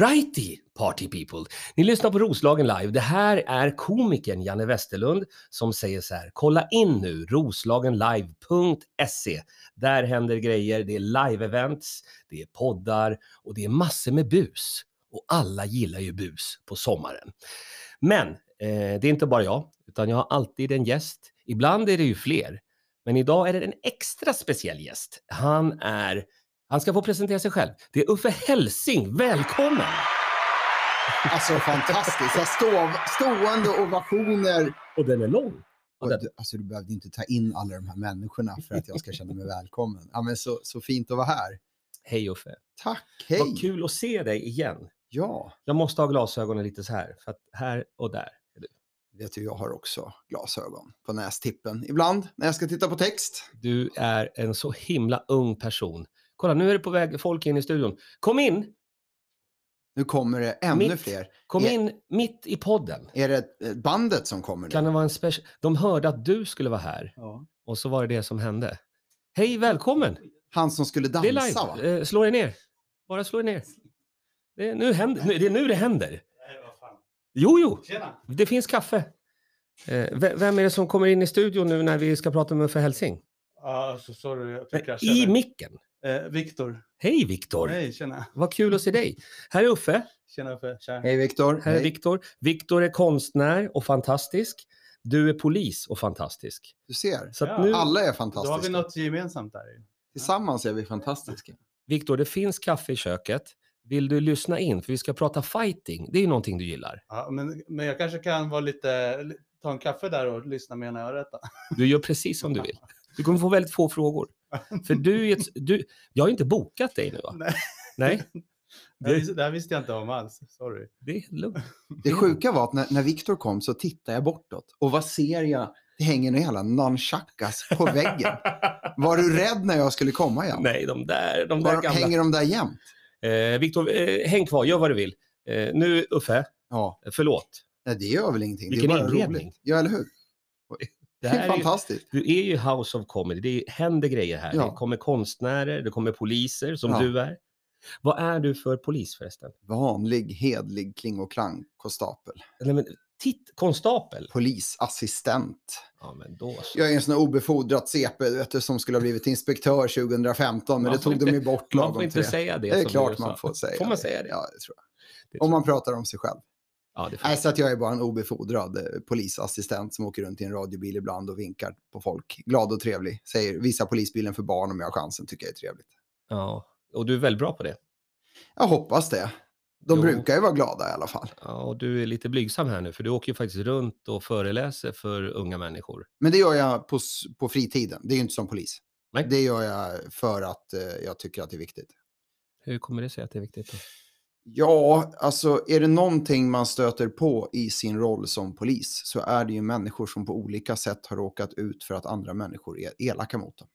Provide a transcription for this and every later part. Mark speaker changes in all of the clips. Speaker 1: righty party people. Ni lyssnar på Roslagen live. Det här är komikern Janne Westerlund som säger så här. Kolla in nu roslagenlive.se. Där händer grejer. Det är live-events, det är poddar och det är massor med bus. Och alla gillar ju bus på sommaren. Men eh, det är inte bara jag, utan jag har alltid en gäst. Ibland är det ju fler, men idag är det en extra speciell gäst. Han är han ska få presentera sig själv. Det är Uffe Helsing. Välkommen!
Speaker 2: Alltså fantastiskt. Jag stå, stående ovationer.
Speaker 1: Och den är lång.
Speaker 2: Och du, alltså, du behövde inte ta in alla de här människorna för att jag ska känna mig välkommen. Ja, men så, så fint att vara här.
Speaker 1: Hej Uffe!
Speaker 2: Tack, hej!
Speaker 1: Vad kul att se dig igen.
Speaker 2: Ja,
Speaker 1: Jag måste ha glasögonen lite så här, för att här och där.
Speaker 2: vet du, jag har också glasögon på nästippen ibland när jag ska titta på text.
Speaker 1: Du är en så himla ung person. Kolla, nu är det på väg folk in i studion. Kom in!
Speaker 2: Nu kommer det ännu
Speaker 1: Mitt.
Speaker 2: fler.
Speaker 1: Kom
Speaker 2: Ja.
Speaker 1: in mitt i podden.
Speaker 2: Är det eh, bandet som kommer nu?
Speaker 1: Kan det vara en special... De hörde att du skulle vara här
Speaker 2: Ja.
Speaker 1: och så var det det som hände. Hej, välkommen!
Speaker 2: Han som skulle
Speaker 1: Det är
Speaker 2: dansa va?
Speaker 1: live. Eh, slå er ner. Bara slå er ner. Det är nu, händer, nu, det är nu det händer. Jo, jo,
Speaker 3: Tjena!
Speaker 1: det finns kaffe. Eh, ve- vem är det som kommer in i studion nu när vi ska prata med Uffe Helsing?
Speaker 3: Ja, så sorry, jag fick krascha.
Speaker 1: I
Speaker 3: där.
Speaker 1: micken.
Speaker 3: Eh, Viktor.
Speaker 1: Hej Viktor!
Speaker 3: Hej, tjena.
Speaker 1: Vad kul att se dig. Här är Uffe,
Speaker 3: Tjena för tja.
Speaker 2: Hej Viktor.
Speaker 1: här är Viktor. Viktor är konstnär och fantastisk. Du är polis och fantastisk.
Speaker 2: Du ser.
Speaker 1: Så att
Speaker 3: Ja.
Speaker 1: nu,
Speaker 2: Alla är
Speaker 3: Då har vi
Speaker 2: fantastiska.
Speaker 3: något gemensamt där. ju.
Speaker 2: Tillsammans är vi fantastiska.
Speaker 1: Viktor, det finns kaffe i köket. Vill du lyssna in? För vi ska prata fighting. Det är ju någonting du gillar.
Speaker 3: Ja, men, men jag kanske kan vara lite, li- ta en kaffe där och lyssna med ena örat. då.
Speaker 1: Du gör precis som du vill. Du kommer få väldigt få frågor. För du, är ett, du jag har inte bokat dig nu va?
Speaker 3: Nej.
Speaker 1: Nej,
Speaker 3: Det, här
Speaker 1: Det-
Speaker 3: vis- det här visste jag inte om alls. Sorry.
Speaker 1: det är lugnt.
Speaker 2: Det sjuka var att när, när Viktor kom så tittade jag bortåt och vad ser jag? Det hänger en jävla nunchakas på väggen. Var du rädd när jag skulle komma igen?
Speaker 1: Nej, de där, de där
Speaker 2: Var,
Speaker 1: gamla.
Speaker 2: hänger de där jämt?
Speaker 1: Eh, Viktor, eh, häng kvar, gör vad du vill. Eh, nu Uffe,
Speaker 2: Ja,
Speaker 1: förlåt.
Speaker 2: nej, det gör väl ingenting.
Speaker 1: Vilken
Speaker 2: det är bara
Speaker 1: inledning.
Speaker 2: roligt. Ja, eller hur?
Speaker 1: Det
Speaker 2: Det,
Speaker 1: här
Speaker 2: är
Speaker 1: är ju,
Speaker 2: fantastiskt.
Speaker 1: du är ju House of Comedy, det händer grejer här.
Speaker 2: Ja.
Speaker 1: Det kommer konstnärer, det kommer poliser som
Speaker 2: Ja.
Speaker 1: du är. Vad är du för polis förresten?
Speaker 2: Vanlig, hedlig kling och klang, konstapel,
Speaker 1: Nej, men, titt, konstapel?
Speaker 2: polisassistent.
Speaker 1: Ja, men då så.
Speaker 2: Jag är en sån här obefordrat CP vet du, som skulle ha blivit inspektör 2015, men
Speaker 1: Man
Speaker 2: det
Speaker 1: får
Speaker 2: tog de
Speaker 1: inte-
Speaker 2: ju bort
Speaker 1: Man får
Speaker 2: lagom
Speaker 1: inte
Speaker 2: till det.
Speaker 1: säga det.
Speaker 2: Det är
Speaker 1: som du
Speaker 2: klart
Speaker 1: sa.
Speaker 2: man får säga
Speaker 1: Får man säga det?
Speaker 2: Ja, det tror jag.
Speaker 1: Det tror
Speaker 2: Om man Alltså- pratar om sig själv.
Speaker 1: jag. Ja, det får
Speaker 2: Nej,
Speaker 1: man.
Speaker 2: så att jag är bara en obefordrad eh, polisassistent som åker runt i en radiobil ibland och vinkar på folk. Glad och trevlig. Säger visa polisbilen för barn om jag har chansen, tycker jag är trevligt.
Speaker 1: Ja. Och du är väldigt bra på det.
Speaker 2: Jag hoppas det. De
Speaker 1: Jo.
Speaker 2: brukar ju vara glada i alla fall.
Speaker 1: Ja, och du är lite blygsam här nu, för du åker ju faktiskt runt och föreläser för unga människor.
Speaker 2: Men det gör jag på, s- på fritiden. Det är ju inte som polis.
Speaker 1: Nej.
Speaker 2: Det gör jag för att eh, jag tycker att det är viktigt.
Speaker 1: Hur kommer det sig att det är viktigt? Då?
Speaker 2: Ja, alltså är det någonting man stöter på i sin roll som polis så är det ju människor som på olika sätt har råkat ut för att andra människor är elaka mot dem.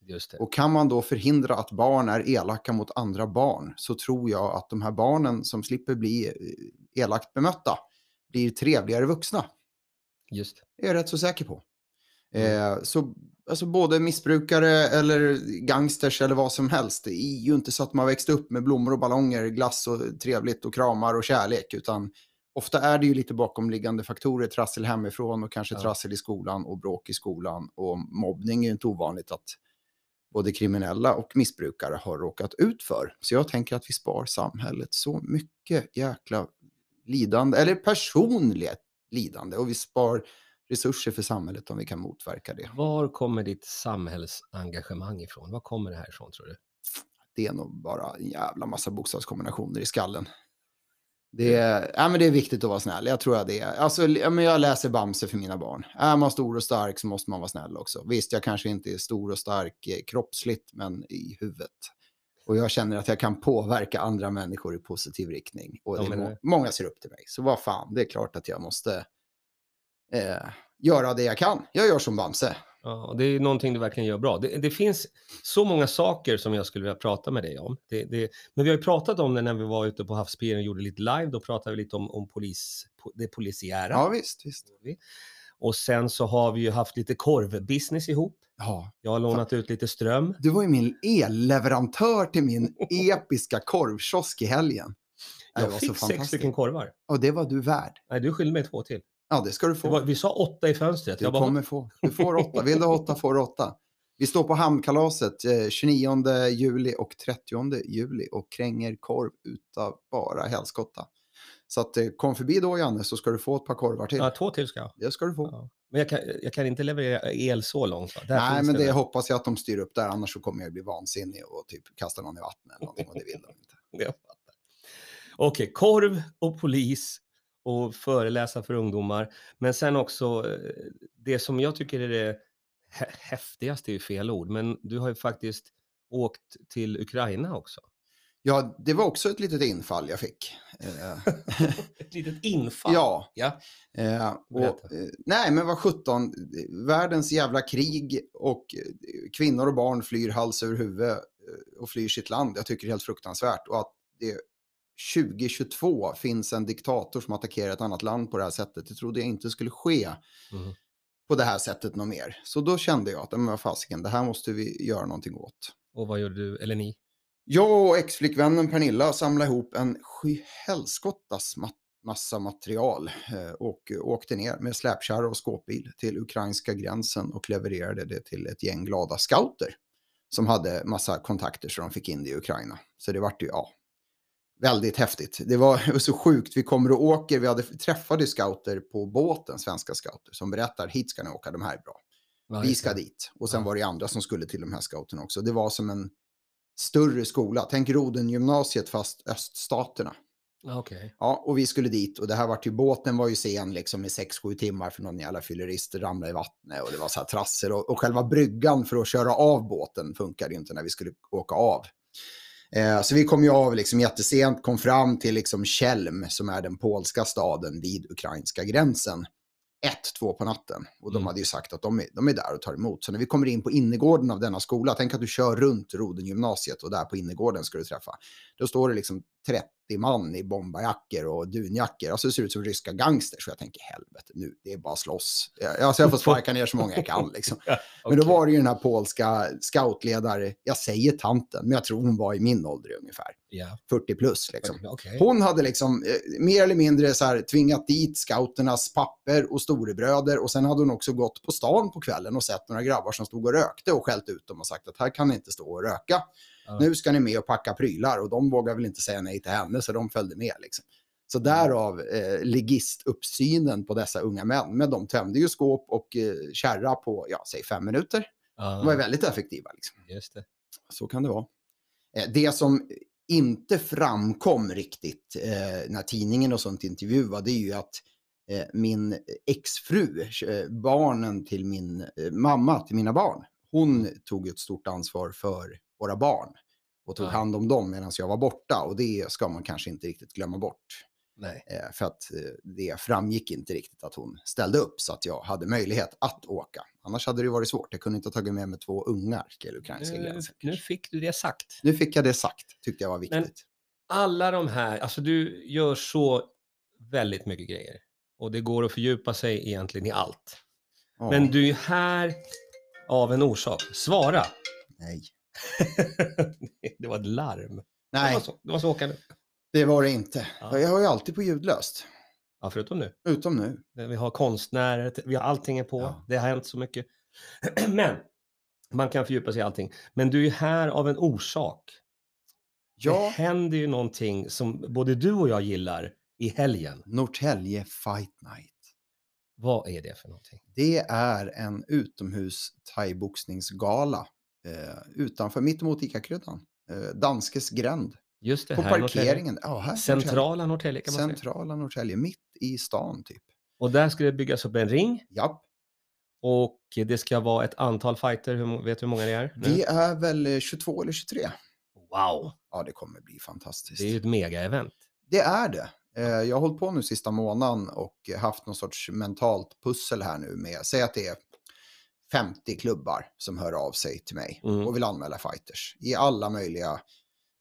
Speaker 1: Just det.
Speaker 2: Och kan man då förhindra att barn är elaka mot andra barn så tror jag att de här barnen som slipper bli eh, elakt bemötta blir trevligare vuxna.
Speaker 1: Just.
Speaker 2: Det är jag rätt så säker på. Eh, så alltså både missbrukare eller gangsters eller vad som helst, det är ju inte så att man växte upp med blommor och ballonger, glass och trevligt och kramar och kärlek, utan ofta är det ju lite bakomliggande faktorer, trassel hemifrån och kanske
Speaker 1: Ja.
Speaker 2: trassel i skolan och bråk i skolan och mobbning är ju inte ovanligt att både kriminella och missbrukare har råkat ut för. Så jag tänker att vi spar samhället så mycket jäkla lidande, eller personligt lidande, och vi spar resurser för samhället om vi kan motverka det.
Speaker 1: Var kommer ditt samhällsengagemang ifrån? Var kommer det här ifrån tror du?
Speaker 2: Det är nog bara en jävla massa bokstavskombinationer i skallen. Det
Speaker 1: Mm.
Speaker 2: är, ja, men det är viktigt att vara snäll. Jag tror att det är. Alltså, ja, men jag läser Bamse för mina barn. Är man stor och stark så måste man vara snäll också. Visst, jag kanske inte är stor och stark eh, kroppsligt, men i huvudet. Och jag känner att jag kan påverka andra människor i positiv riktning. Och
Speaker 1: Ja,
Speaker 2: det är
Speaker 1: men
Speaker 2: må-
Speaker 1: det-
Speaker 2: många ser upp till mig. Så vad fan, det är klart att jag måste eh, göra det jag kan. Jag gör som Bamse.
Speaker 1: Ja, och det är någonting du verkligen gör bra. Det, det finns så många saker som jag skulle vilja prata med dig om. Det, det, men vi har ju pratat om det när vi var ute på havspiren och gjorde lite live. Då pratade vi lite om, om polis, po- det polisiära.
Speaker 2: Ja, visst. visst.
Speaker 1: Och sen så har vi ju haft lite korvbusiness ihop.
Speaker 2: Ja,
Speaker 1: Jag har lånat ut lite ström.
Speaker 2: Du var ju min elleverantör till min episka korvkiosk i helgen. Det
Speaker 1: Jag
Speaker 2: var
Speaker 1: fick
Speaker 2: så
Speaker 1: sex
Speaker 2: fantastiskt.
Speaker 1: stycken korvar.
Speaker 2: Och det var du värd.
Speaker 1: Nej, du skyllde mig två till.
Speaker 2: Ja, det ska du
Speaker 1: Det
Speaker 2: få.
Speaker 1: var, vi sa åtta i fönstret.
Speaker 2: Du
Speaker 1: Jag bara,
Speaker 2: kommer få. Du får åtta. Vill du ha åtta får du åtta. Vi står på Hamnkalaset eh, 29 juli och 30 juli och kränger korv utav bara helskotta. Så att, eh, kom förbi då Janne så ska du få ett par korvar till.
Speaker 1: ja, två till ska jag.
Speaker 2: Det ska du få.
Speaker 1: Ja, Men jag kan, jag kan inte leverera el så långt. Va? Där
Speaker 2: Nej,
Speaker 1: finns
Speaker 2: men det
Speaker 1: väl.
Speaker 2: hoppas jag att de styr upp där, annars så kommer jag bli vansinnig och typ kasta någon i vattnet eller någonting och det vill de inte.
Speaker 1: Jag fattar. Okej, korv och polis och föreläsa för ungdomar. Men sen också eh, det som jag tycker är det hä- häftigaste är ju fel ord, men du har ju faktiskt åkt till Ukraina också.
Speaker 2: Ja, det var också ett litet infall jag fick. Eh,
Speaker 1: Ett litet infall.
Speaker 2: ja,
Speaker 1: ja.
Speaker 2: Eh, och, eh,
Speaker 1: Berätta.
Speaker 2: nej, men vad sjutton, eh, världens jävla krig och eh, kvinnor och barn flyr hals över huvud eh, och flyr sitt land. Jag tycker det är helt fruktansvärt. Och att det 2022 finns en diktator som attackerar ett annat land på det här sättet, det trodde jag inte skulle ske
Speaker 1: Mhm.
Speaker 2: på det här sättet något mer. Så då kände jag att, men vad fasiken, det här måste vi göra någonting åt.
Speaker 1: Och vad gjorde du, eller ni?
Speaker 2: Jag och ex-flickvännen Pernilla samlade ihop en sjuhelskottas ma- massa material eh, och åkte ner med släpkärra och skåpbil till ukrainska gränsen och levererade det till ett gäng glada scouter som hade massa kontakter så de fick in det i Ukraina. Så det vart ju, ja, väldigt häftigt. Det var så sjukt. Vi kommer och åker. Vi hade träffade scouter på båten, svenska scouter, som berättar hit ska ni åka, de här är bra.
Speaker 1: Ja,
Speaker 2: Vi
Speaker 1: just
Speaker 2: ska
Speaker 1: det.
Speaker 2: dit. Och sen
Speaker 1: Ja.
Speaker 2: var det andra som skulle till de här scouterna också. Det var som en större skola. Tänk Rodengymnasiet fast öststaterna.
Speaker 1: Ja, Ah, Okej.
Speaker 2: Ja, och vi skulle dit och det här var ju båten var ju sen liksom i 6-7 timmar för någon jävla fyllerist ramlade i vattnet och det var så här trassel och, och själva bryggan för att köra av båten funkade ju inte när vi skulle åka av. Eh, så vi kom ju av liksom jättesent, kom fram till liksom Chelm som är den polska staden vid ukrainska gränsen. Ett, två på natten. Och de
Speaker 1: Mm.
Speaker 2: hade ju sagt att de är, de är där och tar emot. Så när vi kommer in på innergården av denna skola, tänk att du kör runt Rodengymnasiet och där på innergården ska du träffa då står det liksom 30 man i bombarjackor och dunjackor. Alltså det ser ut som ryska gangsters. Så jag tänker helvete nu, det är bara slåss. Ja, Alltså jag får sparka ner så många jag kan liksom. Men då
Speaker 1: Okej.
Speaker 2: var det ju den här polska scoutledare, jag säger tanten, men jag tror hon var i min ålder ungefär,
Speaker 1: Ja,
Speaker 2: 40 plus liksom.
Speaker 1: okej.
Speaker 2: Hon hade liksom eh, mer eller mindre så här, tvingat dit scouternas papper och storebröder och sen hade hon också gått på stan på kvällen och sett några grabbar som stod och rökte och skällt ut dem och sagt att här kan ni inte stå och röka.
Speaker 1: Ja.
Speaker 2: Nu ska ni med och packa prylar och de vågar väl inte säga nej till henne så de följde med. Liksom. Så därav eh, ligistuppsynen på dessa unga män. Men de tömde ju skåp och eh, kärra på, ja, säg fem minuter. De var ju
Speaker 1: Ja,
Speaker 2: väldigt effektiva. Liksom.
Speaker 1: just det.
Speaker 2: Så kan det vara. Eh, Det som inte framkom riktigt eh, när tidningen och sånt intervjuade är ju att eh, min exfru, eh, barnen till min eh, mamma, till mina barn, hon
Speaker 1: Mm.
Speaker 2: tog ju ett stort ansvar för våra barn och tog
Speaker 1: Ja.
Speaker 2: hand om dem medan jag var borta och det ska man kanske inte riktigt glömma bort.
Speaker 1: Nej.
Speaker 2: Eh, för att eh, det framgick inte riktigt att hon ställde upp så att jag hade möjlighet att åka. Annars hade det ju varit svårt. Jag kunde inte ha tagit med mig två ungar till ukrainska
Speaker 1: Eh, Nu,
Speaker 2: gränsen.
Speaker 1: nu fick du det sagt.
Speaker 2: Nu fick jag det sagt, tyckte jag var viktigt.
Speaker 1: Men- alla de här, alltså du gör så väldigt mycket grejer. Och det går att fördjupa sig egentligen i allt.
Speaker 2: Ja,
Speaker 1: Men du är här av en orsak. Svara!
Speaker 2: nej.
Speaker 1: det var ett larm. Det
Speaker 2: nej,
Speaker 1: var så, det var så åkande.
Speaker 2: det var det inte.
Speaker 1: Ja.
Speaker 2: Jag har ju alltid på ljudlöst,
Speaker 1: Ja, förutom nu. Eh,
Speaker 2: utom nu.
Speaker 1: Vi har konstnärer, vi har allting är på.
Speaker 2: Ja.
Speaker 1: Det har hänt så mycket. Men man kan fördjupa sig i allting. Men du är här av en orsak. Det
Speaker 2: Ja,
Speaker 1: händer ju någonting som både du och jag gillar i helgen.
Speaker 2: Norrtälje Fight Night.
Speaker 1: Vad är det för någonting?
Speaker 2: Det är en utomhus thaiboxningsgala eh, utanför, mittemot Ica-kryddan. Eh, Danskes gränd.
Speaker 1: Just det
Speaker 2: På
Speaker 1: här i Norrtälje.
Speaker 2: parkeringen. Ja, här i Norrtälje.
Speaker 1: Centrala Norrtälje kan man säga.
Speaker 2: Centrala Norrtälje, mitt i stan typ.
Speaker 1: Och där ska det byggas upp en ring
Speaker 2: Japp.
Speaker 1: och det ska vara ett antal fighter. Hur, må- vet du hur många det är? nu?
Speaker 2: Det är väl eh, 22 eller 23?
Speaker 1: Mm. Wow!
Speaker 2: Ja, det kommer bli fantastiskt.
Speaker 1: Det är ju ett mega-event.
Speaker 2: Det är det. Eh, Jag har hållit på nu sista månaden och haft någon sorts mentalt pussel här nu med, säg att det är 50 klubbar som hör av sig till mig
Speaker 1: Mm.
Speaker 2: och vill anmäla fighters i alla möjliga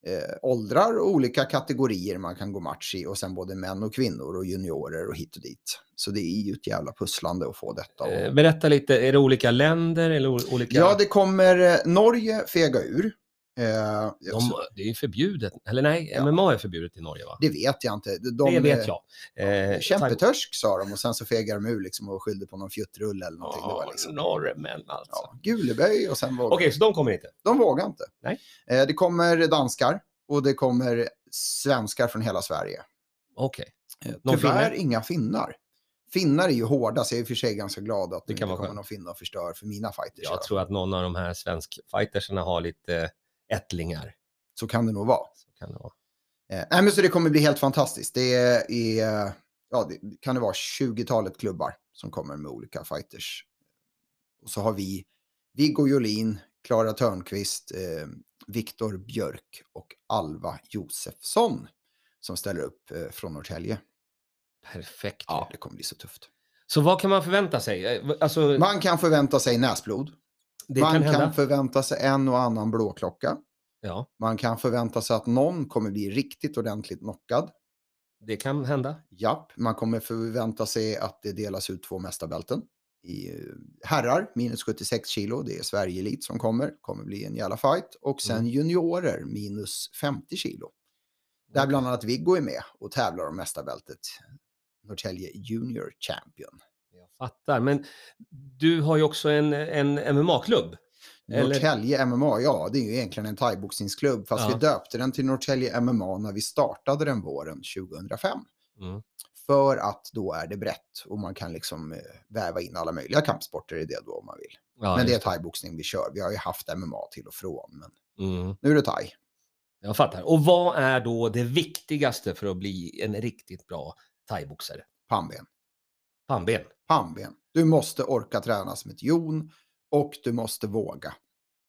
Speaker 2: eh, åldrar och olika kategorier man kan gå match i och sen både män och kvinnor och juniorer och hit och dit. Så det är ju ett jävla pusslande att få detta. Och...
Speaker 1: Eh, Berätta lite, är det olika länder eller o- olika?
Speaker 2: Ja, det kommer eh, Norge fega ur. Eh,
Speaker 1: De,
Speaker 2: så,
Speaker 1: det är ju förbjudet. Eller nej,
Speaker 2: Ja.
Speaker 1: MMA är förbjudet i Norge va?
Speaker 2: det vet jag inte. De,
Speaker 1: Det
Speaker 2: eh,
Speaker 1: vet jag. Eh,
Speaker 2: Kämpetörsk sa de och sen så fegade de ur liksom och skyllde på någon fjuttrulle eller någonting. Det var
Speaker 1: Ja,
Speaker 2: liksom,
Speaker 1: norrmän alltså.
Speaker 2: ja, Guleböj och sen vågade
Speaker 1: Okej, så de kommer inte.
Speaker 2: De vågar inte.
Speaker 1: Nej.
Speaker 2: Eh, det kommer danskar och det kommer svenskar från hela Sverige.
Speaker 1: Okej,
Speaker 2: Eh,
Speaker 1: Någon
Speaker 2: tyvärr
Speaker 1: finne?
Speaker 2: inga finnar. Finnar är ju hårda, så jag är i och för sig ganska glad att
Speaker 1: Det
Speaker 2: det
Speaker 1: kan
Speaker 2: inte
Speaker 1: vara
Speaker 2: kommer
Speaker 1: skönt.
Speaker 2: någon finne och förstör för mina fighters.
Speaker 1: jag tror att någon av de här svenskfightersarna har lite ättlingar.
Speaker 2: Så kan det nog vara.
Speaker 1: Så kan det vara.
Speaker 2: Eh, nej, men så det kommer bli helt fantastiskt. Det är, ja, det, kan det vara 20-talet klubbar som kommer med olika fighters. Och så har vi Viggo Jolin, Klara Törnqvist, eh, Viktor Björk och Alva Josefsson som ställer upp eh, från Norrtälje.
Speaker 1: Perfekt.
Speaker 2: Ja.
Speaker 1: ju.
Speaker 2: Det kommer bli så tufft.
Speaker 1: Så vad kan man förvänta sig? Eh, Alltså,
Speaker 2: Man kan förvänta sig näsblod.
Speaker 1: det
Speaker 2: Man
Speaker 1: kan
Speaker 2: kan,
Speaker 1: hända.
Speaker 2: förvänta sig en och annan blåklocka.
Speaker 1: Ja,
Speaker 2: Man kan förvänta sig att någon kommer bli riktigt ordentligt knockad.
Speaker 1: det kan hända.
Speaker 2: Japp, man kommer förvänta sig att det delas ut två mästarbälten. I eh, herrar, minus 76 kilo, det är Sverige elit som kommer, kommer bli en jävla fight. Och sen
Speaker 1: Mm.
Speaker 2: juniorer, minus 50 kilo. Där bland annat Viggo är med och tävlar om mästarbältet. Norrtälje Junior Champion.
Speaker 1: Jag fattar, men du har ju också en, en MMA-klubb. Eller-
Speaker 2: Norrtälje MMA, ja det är ju egentligen en thaiboxningsklubb, fast
Speaker 1: Ja.
Speaker 2: vi döpte den till Norrtälje MMA när vi startade den våren 2005.
Speaker 1: Mm.
Speaker 2: För att då är det brett och man kan liksom eh, väva in alla möjliga kampsporter i det då om man vill.
Speaker 1: Ja,
Speaker 2: men det är
Speaker 1: just
Speaker 2: thaiboxning vi kör. Vi har ju haft MMA till och från, men
Speaker 1: det. Mm.
Speaker 2: nu är det thai.
Speaker 1: Jag fattar. Och vad är då det viktigaste för att bli en riktigt bra thaiboxare?
Speaker 2: Pannben.
Speaker 1: Pannben.
Speaker 2: Pannben. Du måste orka träna som ett jon och du måste våga.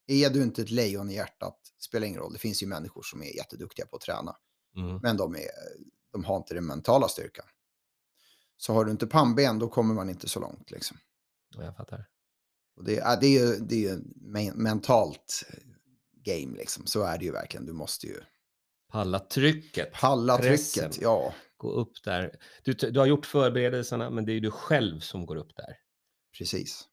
Speaker 2: Är du inte ett lejon i hjärtat, spelar ingen roll. Det finns ju människor som är jätteduktiga på att träna,
Speaker 1: Mm.
Speaker 2: men de, är, de har inte den mentala styrkan. Så har du inte pannben, då kommer man inte så långt. Liksom.
Speaker 1: Ja, Jag fattar.
Speaker 2: Och det, ja, det är ju, det är ju en men- mentalt eh, game, liksom. så är det ju verkligen. Du måste ju
Speaker 1: Palla trycket.
Speaker 2: palla
Speaker 1: Pressen.
Speaker 2: trycket. Ja,
Speaker 1: Gå upp där. Du, du har gjort förberedelserna, men det är ju du själv som går upp där.
Speaker 2: precis.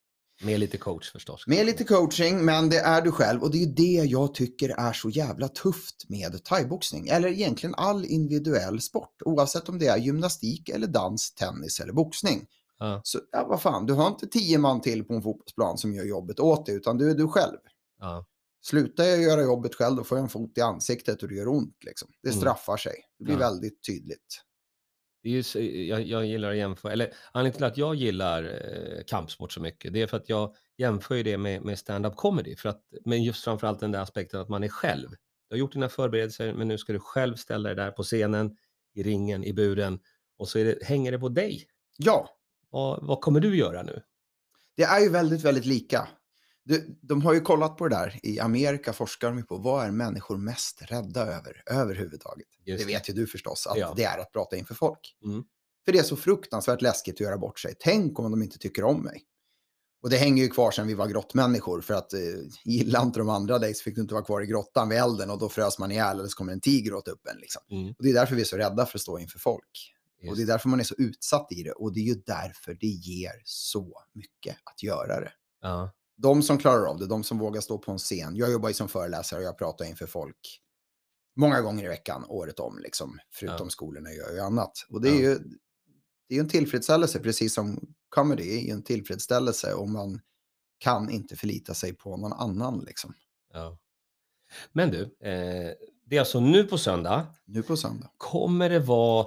Speaker 1: Med lite coach förstås.
Speaker 2: Med lite coaching, men det är du själv. Och det är ju det jag tycker är så jävla tufft med thaiboxning. Eller egentligen all individuell sport. Oavsett om det är gymnastik, eller dans, tennis eller boxning.
Speaker 1: Ja.
Speaker 2: Så ja, vad fan, du har inte tio man till på en fotbollsplan som gör jobbet åt dig, utan du är du själv.
Speaker 1: Ja.
Speaker 2: Slutar jag göra jobbet själv, då får jag en fot i ansiktet och det gör ont. Liksom. Det
Speaker 1: Mm.
Speaker 2: straffar sig. Det blir
Speaker 1: Ja.
Speaker 2: väldigt tydligt.
Speaker 1: Det är ju, så- jag, jag gillar att jämföra, eller anledningen till att jag gillar eh, kampsport så mycket, det är för att jag jämför ju det med, med stand-up comedy. För att, men just framförallt den där aspekten att man är själv. Du har gjort dina förberedelser, men nu ska du själv ställa dig där på scenen, i ringen, i buren. Och så är det, hänger det på dig.
Speaker 2: Ja,
Speaker 1: Vad, vad kommer du göra nu?
Speaker 2: Det är ju väldigt, väldigt lika. Du, de har ju kollat på det där. I Amerika forskar de ju på vad är människor mest rädda över överhuvudtaget.
Speaker 1: Just
Speaker 2: det vet ju du förstås, att
Speaker 1: Ja.
Speaker 2: det är att prata inför folk.
Speaker 1: Mm.
Speaker 2: För det är så fruktansvärt läskigt att göra bort sig. Tänk om de inte tycker om mig. Och det hänger ju kvar sedan vi var grottmänniskor för att eh, gillar inte de andra dig så fick du inte vara kvar i grottan vid elden och då frös man ihjäl eller så kommer en tiger åt upp en. Liksom.
Speaker 1: Mm.
Speaker 2: Och det är därför vi är så rädda för att stå inför folk. Och
Speaker 1: Just
Speaker 2: det är därför man är så utsatt i det och det är ju därför det ger så mycket att göra det
Speaker 1: Ja.
Speaker 2: de som klarar av det, de som vågar stå på en scen. Jag jobbar ju som föreläsare och jag pratar inför folk många gånger i veckan, året om, liksom, förutom
Speaker 1: Ja.
Speaker 2: skolorna gör jag ju annat. Och det är
Speaker 1: Ja.
Speaker 2: ju det är ju en tillfredsställelse, precis som comedy är ju en tillfredsställelse och man kan inte förlita sig på någon annan. Liksom.
Speaker 1: Ja. Men du, eh, det är alltså nu på söndag.
Speaker 2: Nu på söndag.
Speaker 1: Kommer det vara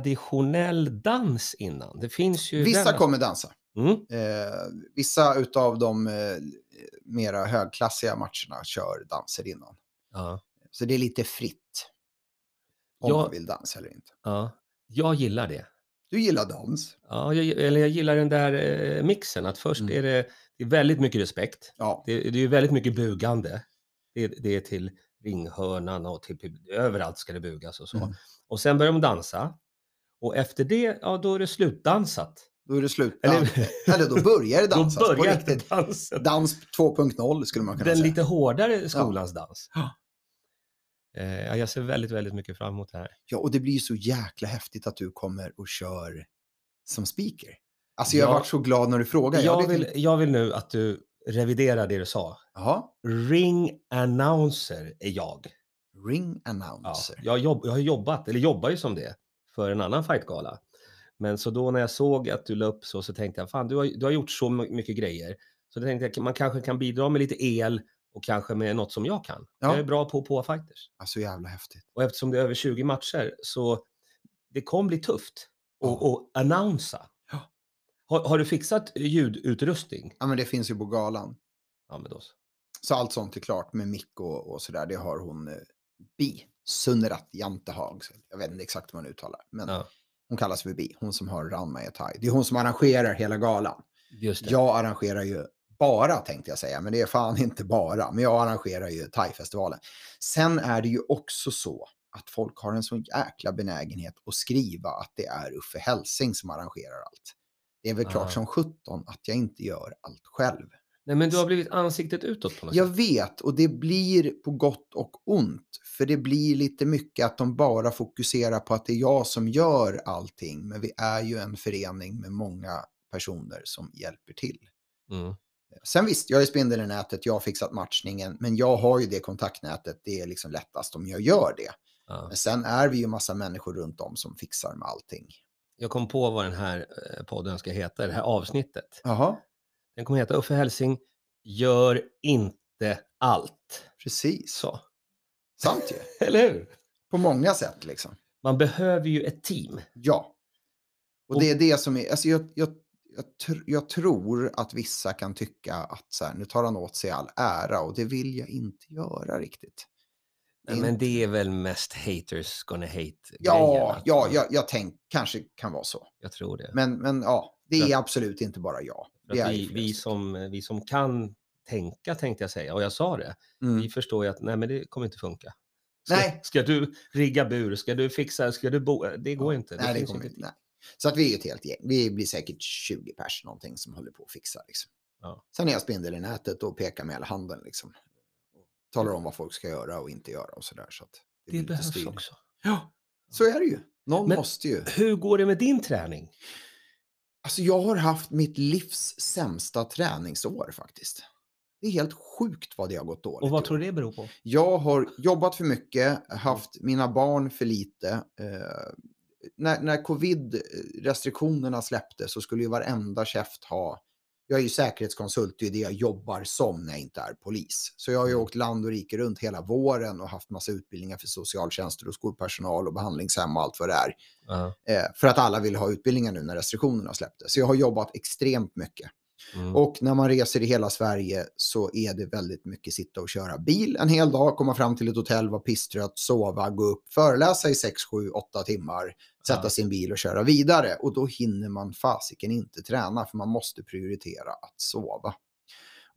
Speaker 1: traditionell dans innan? Det finns ju...
Speaker 2: Vissa
Speaker 1: den-
Speaker 2: kommer dansa.
Speaker 1: Mm.
Speaker 2: Eh, vissa utav de eh, mera högklassiga matcherna kör danser innan.
Speaker 1: Ja.
Speaker 2: Så det är lite fritt om
Speaker 1: Jag-
Speaker 2: man vill dansa eller inte.
Speaker 1: Ja, jag gillar det.
Speaker 2: Du gillar dans.
Speaker 1: Ja, jag, eller jag gillar den där eh, mixen, att först
Speaker 2: Mm.
Speaker 1: är det, det är väldigt mycket respekt.
Speaker 2: Ja.
Speaker 1: Det, det är ju väldigt mycket bugande. Det, det är till ringhörnan och till, pub- överallt ska det bugas och så.
Speaker 2: Mm.
Speaker 1: Och sen börjar de dansa. Och efter det, ja då är det slutdansat.
Speaker 2: Då är det slut.
Speaker 1: Eller-
Speaker 2: Eller, eller då börjar det dansas
Speaker 1: då börjar
Speaker 2: på riktigt.
Speaker 1: dansen.
Speaker 2: Dans 2.0 skulle man kunna
Speaker 1: Den
Speaker 2: säga.
Speaker 1: lite hårdare skolans dans. Eh, ja, jag ser väldigt, väldigt mycket fram emot det här.
Speaker 2: Ja, och det blir ju så jäkla häftigt att du kommer och kör som speaker. Alltså jag
Speaker 1: Ja.
Speaker 2: har varit så glad när du frågar.
Speaker 1: Jag
Speaker 2: vet
Speaker 1: vill,
Speaker 2: inte-
Speaker 1: jag vill nu att du revidera det du sa.
Speaker 2: Jaha.
Speaker 1: Ring announcer är jag.
Speaker 2: Ring
Speaker 1: Ja,
Speaker 2: announcer.
Speaker 1: jag, jobb, jag har jobbat, eller jobbar ju som det, för en annan fightgala. Men så då när jag såg att du la upp så, så tänkte jag, fan du har, du har gjort så my- mycket grejer. Så då tänkte jag, man kanske kan bidra med lite el och kanske med något som jag kan.
Speaker 2: Ja.
Speaker 1: Jag är bra på på fighters.
Speaker 2: Ja. Så Alltså, jävla häftigt.
Speaker 1: Och eftersom det är över 20 matcher så det kommer bli tufft att
Speaker 2: Ja.
Speaker 1: att annonsa.
Speaker 2: Ja.
Speaker 1: Har, har du fixat ljudutrustning?
Speaker 2: Ja, men det finns ju på galan.
Speaker 1: Ja, men då så.
Speaker 2: Så allt sånt är klart med mick och, och sådär. Det har hon eh, Bi. Sunrat Jantehag. Så Jag vet inte exakt hur man uttalar. Men
Speaker 1: Ja.
Speaker 2: hon kallas för Bi. Hon som har Ranma Thai. Det är hon som arrangerar hela galan.
Speaker 1: Just det.
Speaker 2: Jag arrangerar ju bara tänkte jag säga, men det är fan inte bara. Men jag arrangerar ju Thai-festivalen. Sen är det ju också så att folk har en sån jäkla benägenhet att skriva att det är Uffe Helsing som arrangerar allt. Det är väl klart
Speaker 1: Ah.
Speaker 2: som sjutton att jag inte gör allt själv.
Speaker 1: Nej, men du har blivit ansiktet utåt på något
Speaker 2: Jag
Speaker 1: sätt.
Speaker 2: vet, och det blir på gott och ont. För det blir lite mycket att de bara fokuserar på att det är jag som gör allting. Men vi är ju en förening med många personer som hjälper till.
Speaker 1: Mm.
Speaker 2: Sen visst, jag är spindeln i nätet, jag har fixat matchningen, men jag har ju det kontaktnätet, det är liksom lättast om jag gör det.
Speaker 1: Ja.
Speaker 2: Men sen är vi ju massa människor runt om som fixar med allting.
Speaker 1: Jag kom på vad den här eh, podden ska heta, det här avsnittet.
Speaker 2: Jaha,
Speaker 1: Den kommer heta Uffe Helsing gör inte allt.
Speaker 2: precis.
Speaker 1: Så,
Speaker 2: Sant ju.
Speaker 1: eller hur?
Speaker 2: På många sätt liksom.
Speaker 1: Man behöver ju ett team.
Speaker 2: Ja. Och
Speaker 1: Och-
Speaker 2: det är det som är, alltså jag, jag, jag, tr- jag tror att vissa kan tycka att så här, nu tar han åt sig all ära och det vill jag inte göra riktigt.
Speaker 1: Nej, men det är väl mest haters gonna hate
Speaker 2: Ja, ja, jag, jag tänk, kanske kan vara så.
Speaker 1: Jag tror det.
Speaker 2: Men, men ja, det
Speaker 1: För
Speaker 2: är absolut inte bara jag.
Speaker 1: För
Speaker 2: Det
Speaker 1: att
Speaker 2: är
Speaker 1: vi,
Speaker 2: ju
Speaker 1: vi,
Speaker 2: flest.
Speaker 1: som, eh, vi som kan tänka, tänkte jag säga, och jag sa det,
Speaker 2: Mm.
Speaker 1: vi förstår ju att nej, men det kommer inte funka. Ska,
Speaker 2: Nej.
Speaker 1: ska du rigga bur, ska du fixa, ska du bo, det går inte.
Speaker 2: Nej, det
Speaker 1: finns
Speaker 2: kommer
Speaker 1: inte
Speaker 2: inte. Nej. Så att vi är ett helt gäng. Vi blir säkert 20 pers någonting som håller på att fixa. Liksom.
Speaker 1: Ja.
Speaker 2: Sen är jag spindel i nätet och pekar med hela handen. Liksom. Talar om vad folk ska göra och inte göra och sådär. Så att
Speaker 1: Det,
Speaker 2: blir lite
Speaker 1: behövs
Speaker 2: styrning.
Speaker 1: också.
Speaker 2: Så är det ju. Någon
Speaker 1: Men-
Speaker 2: måste ju.
Speaker 1: Hur går det med din träning?
Speaker 2: Alltså jag har haft mitt livs sämsta träningsår faktiskt. Det är helt sjukt vad det har gått dåligt.
Speaker 1: Och
Speaker 2: i
Speaker 1: vad
Speaker 2: år.
Speaker 1: tror du det beror på?
Speaker 2: Jag har jobbat för mycket, haft mina barn för lite. Eh, när, när covid-restriktionerna släpptes så skulle ju varenda käft ha... Jag är ju säkerhetskonsult, det är det jag jobbar som när jag inte är polis. Så jag har ju åkt land och rike runt hela våren och haft massa utbildningar för socialtjänster och skolpersonal och behandlingshem och allt vad det är.
Speaker 1: Ja.
Speaker 2: Eh, för att alla vill ha utbildningar nu när restriktionerna släpptes. Så jag har jobbat extremt mycket.
Speaker 1: Mm.
Speaker 2: Och när man reser i hela Sverige så är det väldigt mycket sitta och köra bil en hel dag, komma fram till ett hotell, vara pisstrött, sova, gå upp, föreläsa i 6, 7, 8 timmar, sätta
Speaker 1: Ja.
Speaker 2: sin bil och köra vidare. Och då hinner man fasiken inte träna för man måste prioritera att sova.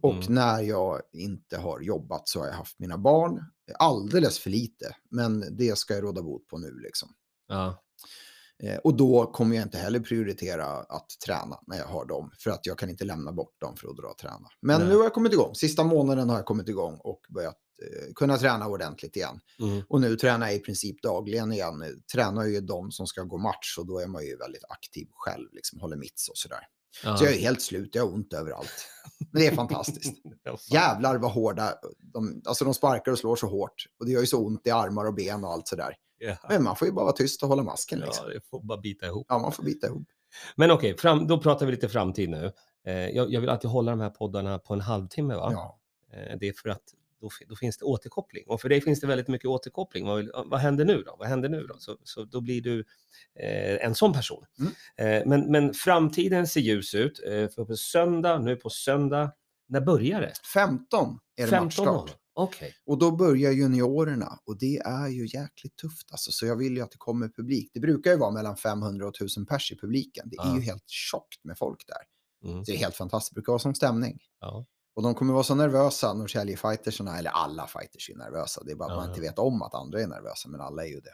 Speaker 2: Och
Speaker 1: Mm.
Speaker 2: när jag inte har jobbat så har jag haft mina barn alldeles för lite, men det ska jag råda bot på nu liksom.
Speaker 1: Ja.
Speaker 2: Eh, Och då kommer jag inte heller prioritera att träna när jag har dem. För att jag kan inte lämna bort dem för att dra och träna. Men
Speaker 1: Nej.
Speaker 2: nu har jag kommit igång. Sista månaden har jag kommit igång och börjat eh, kunna träna ordentligt igen.
Speaker 1: Mm.
Speaker 2: Och nu tränar jag i princip dagligen igen. Eh, Tränar ju de som ska gå match och då är man ju väldigt aktiv själv. Liksom håller mitts och sådär.
Speaker 1: Ja.
Speaker 2: Så jag är helt slut, jag har ont överallt. Men det är fantastiskt.
Speaker 1: Ja, fan.
Speaker 2: Jävlar vad hårda, de, alltså de sparkar och slår så hårt. Och det gör ju så ont i armar och ben och allt sådär.
Speaker 1: Ja.
Speaker 2: Men man får ju bara vara tyst och hålla masken liksom.
Speaker 1: Ja, det får bara bita ihop.
Speaker 2: Ja, man får bita ihop.
Speaker 1: Men okej, fram, då pratar vi lite framtid nu. Eh, jag, jag vill alltid hålla de här poddarna på en halvtimme. Va?
Speaker 2: Ja.
Speaker 1: Eh, det är för att då, fi- då finns det återkoppling. Och för dig finns det väldigt mycket återkoppling. Vad, vill, vad händer nu då? Vad händer nu då? Så, så då blir du eh, en sån person.
Speaker 2: Mm.
Speaker 1: Eh, men, men framtiden ser ljus ut. Eh, för på söndag, nu på söndag, när börjar det?
Speaker 2: 15 är det
Speaker 1: 15
Speaker 2: matchstart.
Speaker 1: Okej.
Speaker 2: Och då börjar juniorerna och det är ju jäkligt tufft alltså. Så jag vill ju att det kommer publik. Det brukar ju vara mellan 500 och 1000 pers i publiken. Det är
Speaker 1: Ja.
Speaker 2: ju helt tjockt med folk där.
Speaker 1: Mm.
Speaker 2: Så det är helt fantastiskt. Det brukar vara som stämning.
Speaker 1: Ja.
Speaker 2: Och de kommer vara så nervösa, Norrtälje-fightersarna, eller alla fighters är nervösa. Det är bara att
Speaker 1: Ja,
Speaker 2: man
Speaker 1: ja.
Speaker 2: inte vet om att andra är nervösa, men alla är ju det.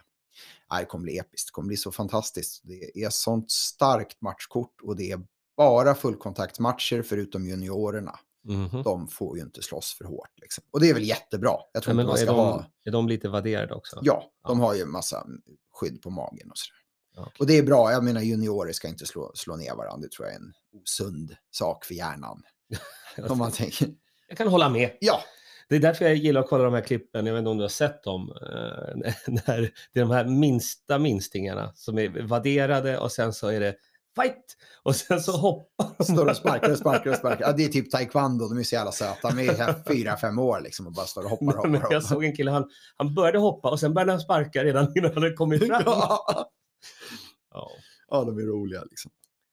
Speaker 2: Nej, Det kommer bli episkt, det kommer bli så fantastiskt. Det är sånt starkt matchkort och det är bara fullkontaktmatcher förutom juniorerna.
Speaker 1: Mhm.
Speaker 2: de får ju inte slåss för hårt. Liksom. Och det är väl jättebra. Jag
Speaker 1: Nej,
Speaker 2: tror inte
Speaker 1: men
Speaker 2: man
Speaker 1: är,
Speaker 2: ska
Speaker 1: de,
Speaker 2: ha...
Speaker 1: är de lite värderade också?
Speaker 2: Ja, de
Speaker 1: Ja.
Speaker 2: har ju en massa mm, skydd på magen och sådär.
Speaker 1: Ja, okej.
Speaker 2: Och det är bra. Jag menar, juniorer ska inte slå, slå ner varandra. Det tror jag är en osund sak för hjärnan. Om man tänker.
Speaker 1: Jag kan hålla med.
Speaker 2: Ja,
Speaker 1: Det är därför jag gillar att kolla de här klippen, jag vet inte om du har sett dem, eh, när det är de här minsta minstingarna som är vadderade och sen så är det fight och sen så hoppar de.
Speaker 2: står och sparkar och sparkar och sparkar. Ja, det är typ taekwondo, de är så jävla söta. De är här fyra, fem år liksom och bara står och hoppar och hoppar.
Speaker 1: Men jag såg en kille, han, han började hoppa och sen började han sparka redan innan han hade kommit fram.
Speaker 2: Ja.
Speaker 1: Ja,
Speaker 2: ja, de är roliga liksom.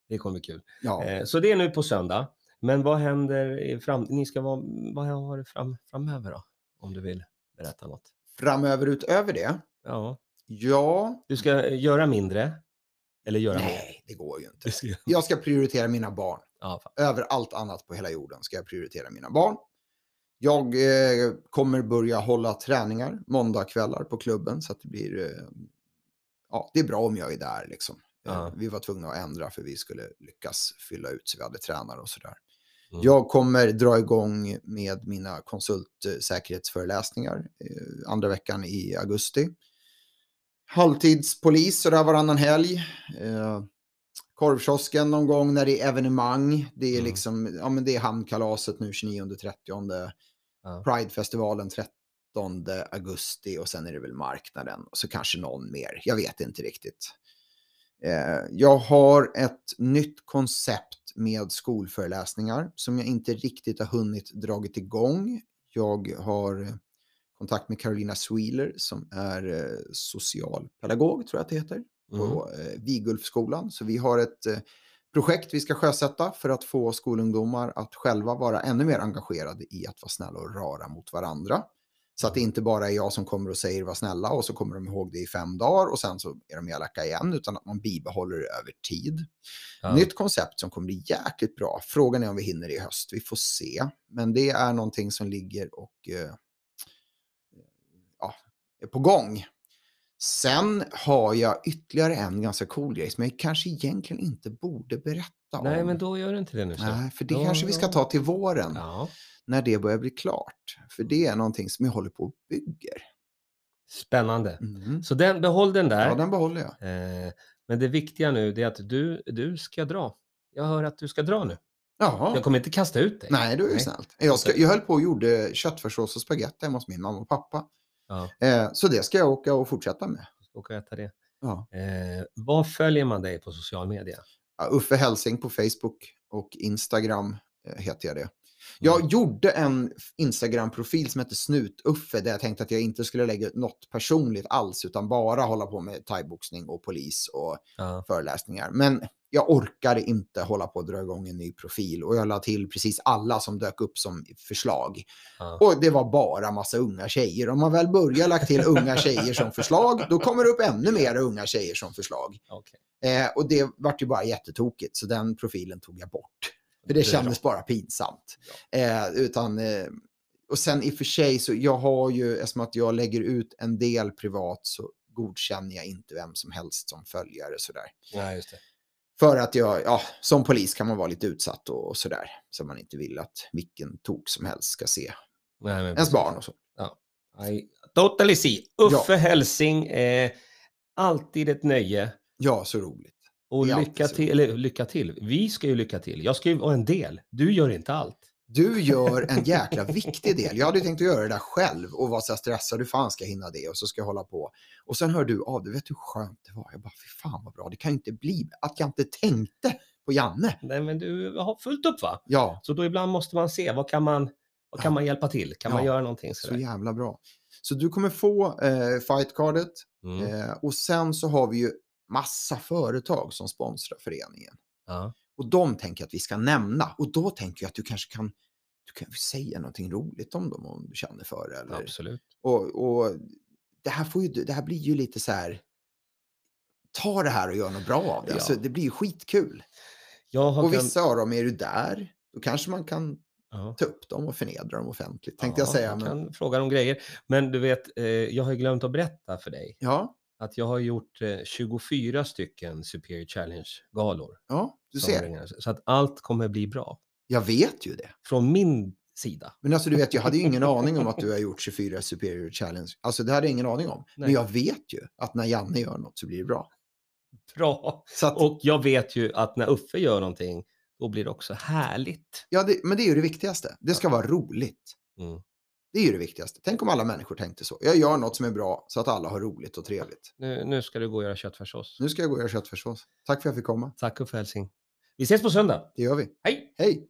Speaker 1: det kommer bli kul.
Speaker 2: Ja.
Speaker 1: Eh, Så det är nu på söndag. Men vad händer i fram... Ni ska vara... Vad har du fram... framöver då? Om du vill berätta något.
Speaker 2: Framöver utöver det,
Speaker 1: Ja.
Speaker 2: ja,
Speaker 1: Du ska eh, göra mindre. Eller göra mer.
Speaker 2: nej, det går ju inte.
Speaker 1: Du ska...
Speaker 2: Jag ska prioritera mina barn.
Speaker 1: Ja, fan.
Speaker 2: Över allt annat på hela jorden ska jag prioritera mina barn. Jag eh, kommer börja hålla träningar måndagkvällar på klubben så att det blir... Eh, ja, det är bra om jag är där liksom. Eh,
Speaker 1: Ja.
Speaker 2: Vi var tvungna att ändra för vi skulle lyckas fylla ut så vi hade tränare och sådär.
Speaker 1: Mm.
Speaker 2: Jag kommer dra igång med mina konsultsäkerhetsföreläsningar eh, andra veckan i augusti. Halvtidspolis sådär varannan helg. Eh, korvkiosken någon gång när det är evenemang. Det är
Speaker 1: Mm.
Speaker 2: liksom, ja men det är hamnkalaset nu 29-30.
Speaker 1: Ja.
Speaker 2: Pridefestivalen 13 augusti och sen är det väl marknaden och så kanske någon mer. Jag vet inte riktigt. Eh, jag har ett nytt koncept med skolföreläsningar som jag inte riktigt har hunnit dragit igång. Jag har kontakt med Carolina Sweeler som är eh, socialpedagog tror jag att det heter
Speaker 1: Mm.
Speaker 2: på eh, Vigulfskolan. Så vi har ett eh, projekt vi ska sjösätta för att få skolungdomar att själva vara ännu mer engagerade i att vara snälla och rara mot varandra. Så att det inte bara är jag som kommer och säger var snälla och så kommer de ihåg det i fem dagar och sen så är de elaka igen utan att man bibehåller det över tid.
Speaker 1: Ja.
Speaker 2: Nytt koncept som kommer bli jäkligt bra. Frågan är om vi hinner i höst. Vi får se. Men det är någonting som ligger och eh, ja, är på gång. Sen har jag ytterligare en ganska cool grej som jag kanske egentligen inte borde berätta
Speaker 1: Nej,
Speaker 2: om.
Speaker 1: men då gör du inte det nu. så.
Speaker 2: Nej, för det
Speaker 1: Ja,
Speaker 2: kanske vi ska
Speaker 1: ja.
Speaker 2: ta till våren
Speaker 1: Ja. Mm.
Speaker 2: när det börjar bli klart. För det är någonting som jag håller på och bygger.
Speaker 1: Spännande.
Speaker 2: Mm.
Speaker 1: Så den, behåll den där.
Speaker 2: Ja, den behåller jag.
Speaker 1: Eh, Men det viktiga nu det är att du, du ska dra. Jag hör att du ska dra nu.
Speaker 2: Jaha.
Speaker 1: Jag kommer inte kasta ut dig.
Speaker 2: Nej, det är ju snällt. Jag, ska, jag höll på och gjorde köttfärssås och spagetti hemma hos min mamma och pappa.
Speaker 1: Ja.
Speaker 2: Eh, så det ska jag åka och fortsätta med.
Speaker 1: Jag ska åka och äta det.
Speaker 2: Ja.
Speaker 1: Eh, vad följer man dig på social media?
Speaker 2: Ja, Uffe Hälsing på Facebook och Instagram eh, heter jag det. Jag
Speaker 1: Mm.
Speaker 2: gjorde en Instagram-profil som hette Snut-Uffe där jag tänkte att jag inte skulle lägga ut något personligt alls utan bara hålla på med thaiboxning och polis och
Speaker 1: Ja.
Speaker 2: föreläsningar. Men jag orkade inte hålla på att dra igång en ny profil och jag la till precis alla som dök upp som förslag.
Speaker 1: Ja.
Speaker 2: Och det var bara massa unga tjejer. Om man väl börjar lagt till unga tjejer som förslag, då kommer det upp ännu mer unga tjejer som förslag.
Speaker 1: okej.
Speaker 2: Eh, och det vart ju bara jättetokigt, så den profilen tog jag bort. För det
Speaker 1: är
Speaker 2: kändes bara pinsamt. Eh, utan, eh, och sen i och för sig, så jag har ju, eftersom att jag lägger ut en del privat, så godkänner jag inte vem som helst som följare sådär.
Speaker 1: bra. Nej, just det.
Speaker 2: För att jag, ja, som polis kan man vara lite utsatt och, och sådär. Så man inte vill att vilken tok som helst ska se
Speaker 1: Nej, men
Speaker 2: ens barn och så.
Speaker 1: precis. I totally see. Uffe Hälsing, eh, alltid ett nöje.
Speaker 2: Ja, så roligt.
Speaker 1: Och
Speaker 2: Det är alltid
Speaker 1: lycka
Speaker 2: så.
Speaker 1: till, eller lycka till. Vi ska ju lycka till. Jag ska ju vara en del. Du gör inte allt.
Speaker 2: Du gör en jäkla viktig del. Jag hade tänkt att göra det där själv och vara så här stressad. Hur fan ska jag hinna det? Och så ska jag hålla på. Och sen hör du av dig. Vet du hur skönt det var? Jag bara, fy fan vad bra. Det kan ju inte bli att jag inte tänkte på Janne.
Speaker 1: Nej, men du har fullt upp va?
Speaker 2: Ja,
Speaker 1: Så då ibland måste man se, vad kan man, vad kan
Speaker 2: Ja.
Speaker 1: man hjälpa till? Kan man
Speaker 2: Ja.
Speaker 1: göra någonting
Speaker 2: så
Speaker 1: sådär?
Speaker 2: jävla bra. Så du kommer få eh, fightcardet
Speaker 1: Mm.
Speaker 2: eh, och sen så har vi ju massa företag som sponsrar föreningen.
Speaker 1: Ja.
Speaker 2: Och de tänker jag att vi ska nämna. Och då tänker jag att du kanske kan, du kan säga någonting roligt om dem om du känner för det. Eller?
Speaker 1: Absolut.
Speaker 2: Och, och det, här får ju, det här blir ju lite så här, ta det här och gör något bra av det.
Speaker 1: Ja.
Speaker 2: Alltså, det blir ju skitkul.
Speaker 1: Jag har
Speaker 2: Och
Speaker 1: glömt-
Speaker 2: vissa av dem, är du där, då kanske man kan
Speaker 1: Ja.
Speaker 2: ta upp dem och förnedra dem offentligt, tänkte
Speaker 1: Ja,
Speaker 2: jag säga.
Speaker 1: man
Speaker 2: Men,
Speaker 1: kan fråga om grejer. Men du vet, eh, jag har ju glömt att berätta för dig
Speaker 2: ja,
Speaker 1: att jag har gjort eh, 24 stycken Superior Challenge-galor.
Speaker 2: ja, du
Speaker 1: som
Speaker 2: ser.
Speaker 1: ringar. Så att allt kommer bli bra.
Speaker 2: Jag vet ju det.
Speaker 1: Från min sida.
Speaker 2: Men alltså du vet, jag hade ju ingen aning om att du har gjort 24 Superior Challenge. Alltså det hade jag ingen aning om. Men
Speaker 1: Nej.
Speaker 2: jag vet ju att när Janne gör något så blir det bra.
Speaker 1: Bra!
Speaker 2: Så att,
Speaker 1: Alltså Och jag vet ju att när Uffe gör någonting Då blir det också härligt.
Speaker 2: Ja, det, men det är ju det viktigaste. Det ska vara roligt.
Speaker 1: Mm.
Speaker 2: Det är ju det viktigaste. Tänk om alla människor tänkte så. Jag gör något som är bra så att alla har roligt och trevligt.
Speaker 1: Nu, nu ska du gå och göra köttfärssås.
Speaker 2: Nu ska jag gå och göra köttfärssås. Tack för att jag fick komma.
Speaker 1: Tack och för hälsning. Vi ses på söndag.
Speaker 2: Det gör vi.
Speaker 1: Hej!
Speaker 2: Hej!